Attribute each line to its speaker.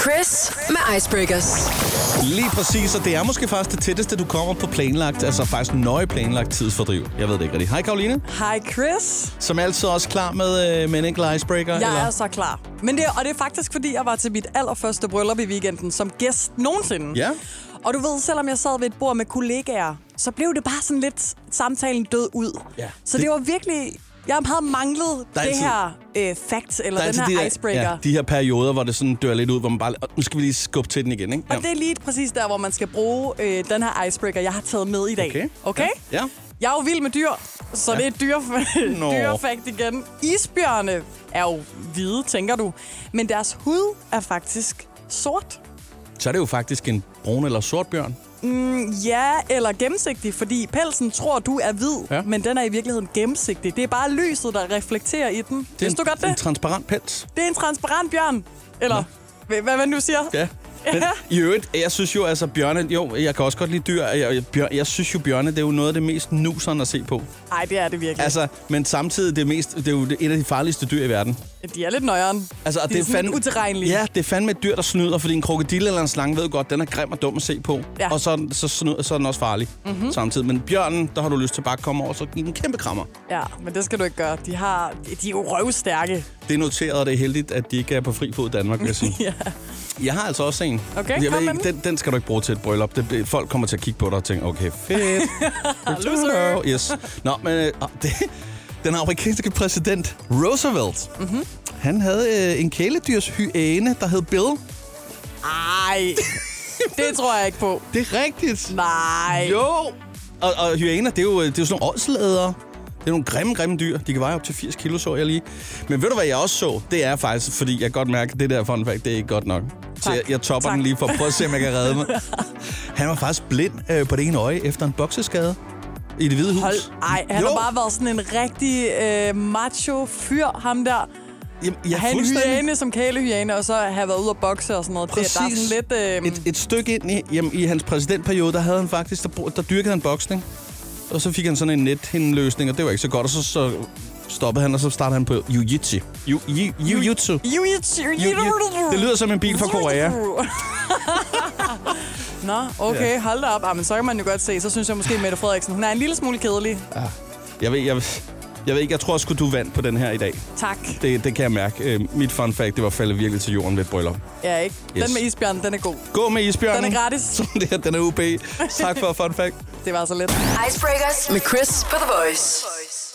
Speaker 1: Chris med Icebreakers.
Speaker 2: Lige præcis, og det er måske faktisk det tætteste, du kommer på planlagt, altså faktisk nøje planlagt tidsfordriv. Jeg ved det ikke rigtigt. Hej Karoline,
Speaker 3: Hej Chris.
Speaker 2: som er altid også klar med, øh, med en enkelt icebreaker.
Speaker 3: Jeg
Speaker 2: eller?
Speaker 3: er så klar. Men det, og det er faktisk, fordi jeg var til mit allerførste bryllup i weekenden som gæst nogensinde.
Speaker 2: Ja.
Speaker 3: Og du ved, selvom jeg sad ved et bord med kollegaer, så blev det bare sådan lidt samtalen død ud.
Speaker 2: Ja.
Speaker 3: Så
Speaker 2: Det-
Speaker 3: det, var virkelig... Jeg havde manglet
Speaker 2: Der er
Speaker 3: det
Speaker 2: altid-
Speaker 3: her øh, fact, eller
Speaker 2: Der er
Speaker 3: den her
Speaker 2: altid de der-
Speaker 3: icebreaker.
Speaker 2: Ja, de her perioder, hvor det sådan dør lidt ud, hvor man bare... "Åh, Nu skal vi lige skubbe til den igen, ikke?
Speaker 3: Og det er lige præcis der, hvor man skal bruge øh, den her icebreaker, jeg har taget med i dag.
Speaker 2: Okay.
Speaker 3: Okay?
Speaker 2: Ja. Ja.
Speaker 3: Jeg er jo vild med dyr, så ja. det er et dyr,
Speaker 2: Nå.
Speaker 3: dyrefakt igen. Isbjørne er jo hvide, tænker du. Men deres hud er faktisk sort.
Speaker 2: Så er det jo faktisk en brun eller sort bjørn.
Speaker 3: Ja, eller gennemsigtig, fordi pelsen tror, du er hvid,
Speaker 2: Ja.
Speaker 3: ja. men den er i virkeligheden gennemsigtig. Det er bare lyset, der reflekterer i den.
Speaker 2: Det er
Speaker 3: Vidste du
Speaker 2: en,
Speaker 3: godt
Speaker 2: en
Speaker 3: det?
Speaker 2: transparent pels.
Speaker 3: Det er en transparent bjørn. Eller, hvad, hvad man nu siger.
Speaker 2: Ja. Men
Speaker 3: Ja.
Speaker 2: i øvrigt, jeg synes jo, altså bjørne, jo, jeg kan også godt lide dyr. Jeg, jeg, bjør, jeg synes jo, bjørne, det er jo noget af det mest nuserne at se på.
Speaker 3: Ej, det er det virkelig.
Speaker 2: Altså, men samtidig, det, mest, det er jo det- et af de farligste dyr i verden.
Speaker 3: de er lidt nøjeren.
Speaker 2: Altså, og
Speaker 3: de er, sådan lidt utilregnelige.
Speaker 2: Ja, det er fandme et dyr, der snyder, fordi en krokodille eller en slange ved jo godt, den er grim og dum at se på.
Speaker 3: Ja. Mhm.
Speaker 2: Og så, er den- så, snyder, så er den også farlig mm-hmm. samtidig. Men bjørnen, der har du lyst til bare at komme over, og så give den en kæmpe krammer.
Speaker 3: Ja, men det skal du ikke gøre. De, har, de er jo røvstærke.
Speaker 2: Det er noteret, og det er heldigt, at de ikke er på fri fod i Danmark, vil jeg sige.
Speaker 3: Ja.
Speaker 2: Jeg har altså også en.
Speaker 3: Okay,
Speaker 2: jeg
Speaker 3: kom med den.
Speaker 2: den, den skal du ikke bruge til et bryllup. Det, bliver- folk kommer til at kigge på dig og tænke, okay, fedt.
Speaker 3: Loser.
Speaker 2: Yes. Nå, men øh, ah, det, den amerikanske præsident Roosevelt,
Speaker 3: Mhm.
Speaker 2: mm-hmm. han havde øh, en kæledyrshyæne, der hed Bill.
Speaker 3: Ej, det tror jeg ikke på.
Speaker 2: Det er rigtigt.
Speaker 3: Nej.
Speaker 2: Jo. Og, og hyæner, det er jo, det er jo sådan nogle ådslædere. Det er nogle grimme, grimme dyr. De kan veje op til 80 kilo, så jeg lige. Men ved du, hvad jeg også så? Det er faktisk, fordi jeg kan godt mærke, at det der fun fact, det er ikke godt nok. Så
Speaker 3: Tak.
Speaker 2: jeg, jeg topper
Speaker 3: Tak.
Speaker 2: den lige for at prøve at se, om jeg kan redde mig. Han var faktisk blind øh, på det ene øje efter en bokseskade i det hvide hus.
Speaker 3: Hold, ej, han
Speaker 2: Jo.
Speaker 3: har bare været sådan en rigtig øh, macho fyr, ham der.
Speaker 2: Jamen, ja,
Speaker 3: han er en
Speaker 2: fuldstændig.
Speaker 3: hyæne som kælehyæne, og så have været ude og bokse og sådan noget. Det, der er sådan lidt... Øh,
Speaker 2: et, et stykke ind i, jamen, i hans præsidentperiode, der havde han faktisk, der, br- der dyrkede han boksning. Og så fik han sådan en nethindeløsning, og det var ikke så godt. Og så, så stoppede han, og så startede han på jiu-jitsu. Ju- ju- Jiu-jitsu.
Speaker 3: Jiu-jitsu.
Speaker 2: Jiu-jitsu. Det lyder som en bil fra Korea.
Speaker 3: Nå, okay, hold da op. Jamen, så kan man jo godt se. Så synes jeg måske, Mette Frederiksen, hun er en lille smule kedelig.
Speaker 2: Jeg ved, jeg, jeg ved ikke, jeg tror sgu, du vandt på den her i dag.
Speaker 3: Tak.
Speaker 2: Det, det kan jeg mærke. Øh, mit fun fact, det var faldet virkelig til jorden ved et bryllup.
Speaker 3: Ja, ikke?
Speaker 2: Yes.
Speaker 3: Den med isbjørnen, den er god.
Speaker 2: Gå med isbjørnen.
Speaker 3: Den er gratis.
Speaker 2: Som det her, den er UB. Tak for fun fact.
Speaker 3: Det var så lidt.
Speaker 1: Icebreakers med Chris på The Voice.